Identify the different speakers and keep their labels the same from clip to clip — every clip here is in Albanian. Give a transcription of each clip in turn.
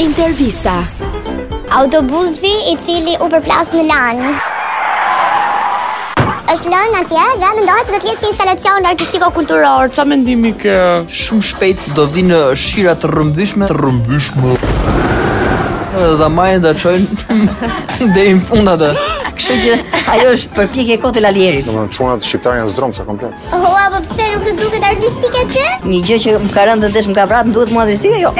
Speaker 1: Intervista.
Speaker 2: Autobusi i cili u përplas në lanë. është lënë atje dhe mendohet që do të jetë si instalacion artistiko-kulturor.
Speaker 3: Sa mendimi ke?
Speaker 4: Shumë shpejt do vinë shira të rrëmbishme, të rrëmbishme. Dhe da marrin da çojnë deri në fund atë.
Speaker 5: Kështu që ajo është përpjekje e kotë e lalierit.
Speaker 6: Domethënë çunat shqiptarë janë zdromsa komplet.
Speaker 2: Hua, po pse nuk të duket artistike ti?
Speaker 5: Një gjë që më ka rënë të desh më ka vrarë, më duhet mua drejtësia jo.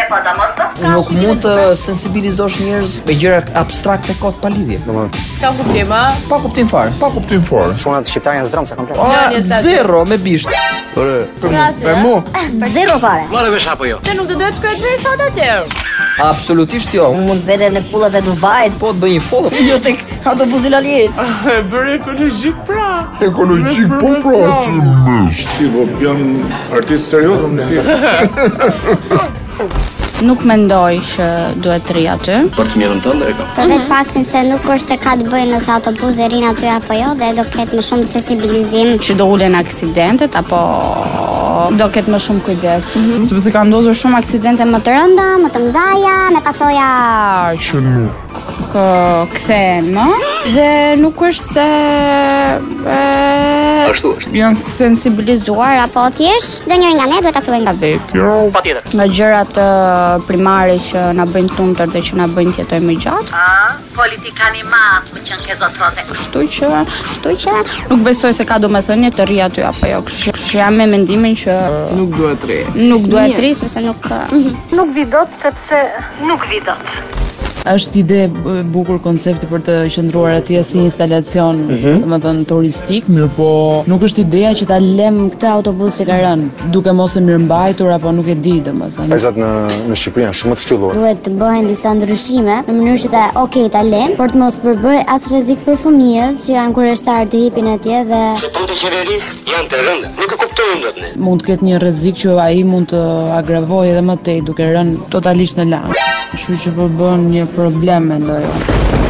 Speaker 4: Nuk mund të sensibilizosh njerëz me gjëra abstrakte kot pa lidhje.
Speaker 6: Domethënë
Speaker 3: Ka kuptim, a?
Speaker 4: Pa kuptim fare. Pa kuptim fare.
Speaker 6: çunat shqiptarë janë zdromsa komplet.
Speaker 4: A,
Speaker 3: Lani e tati.
Speaker 4: zero me bisht. Ore, për mu.
Speaker 5: Zero fare.
Speaker 3: Se nuk do duhet shkruaj deri sot atje.
Speaker 4: Absolutisht jo.
Speaker 5: Unë mund vete në pullat e Dubajit,
Speaker 4: Po të bëj një follow.
Speaker 5: jo tek autobusi i lalierit.
Speaker 3: E bëre ekologjik pra.
Speaker 7: Ekologjik po pra ti mësh.
Speaker 6: Si po jam artist serioz, unë si.
Speaker 8: Nuk mendoj që duhet të ri aty.
Speaker 2: Për vetë faktin se nuk është se ka të bëjë nëse autobusi rin aty apo jo dhe do ketë më shumë sensibilizim.
Speaker 8: Që do ulen aksidentet apo do ketë më shumë kujdes. Sepse ka ndodhur shumë aksidente më të rënda
Speaker 2: Nda, më të mdhaja, me pasoja.
Speaker 7: Që nuk.
Speaker 8: që kthehen më dhe nuk është se e, ashtu është. Janë sensibilizuar apo
Speaker 2: Po thjesht do njëri nga ne duhet ta fillojë nga
Speaker 8: nga gjërat e, primare që na bëjnë tumtër dhe që na bëjnë të jetojmë më gjatë.
Speaker 9: politikani matë më qënë ke zotrote.
Speaker 8: Kështu që, kështu që nuk besoj se ka domethënie të ri aty apo jo. Kështu që, kështu që jam me mendimin që
Speaker 3: Nuk duhet rri.
Speaker 8: nuk duhet ri sepse nuk
Speaker 9: Nuk vidot, sepse nuk vidot.
Speaker 10: është ide e bukur koncepti për të qëndruar atje si instalacion, domethënë turistik, mirë po nuk është ideja që ta lëm këtë autobus që ka rënë, duke mos e mirëmbajtur apo nuk e di domethënë.
Speaker 6: Vajzat në në Shqipëri janë shumë të ftyllur.
Speaker 2: duhet të bëhen disa ndryshime në mënyrë që ta okay ta lënë por të mos përbërë as rrezik për fëmijët që janë kurioztar të hipin atje dhe
Speaker 10: Mund të ketë një rrezik që ai mund të agravojë edhe më tej duke rënë totalisht në lanë. Kështu që po bën një problem mendoj. unë.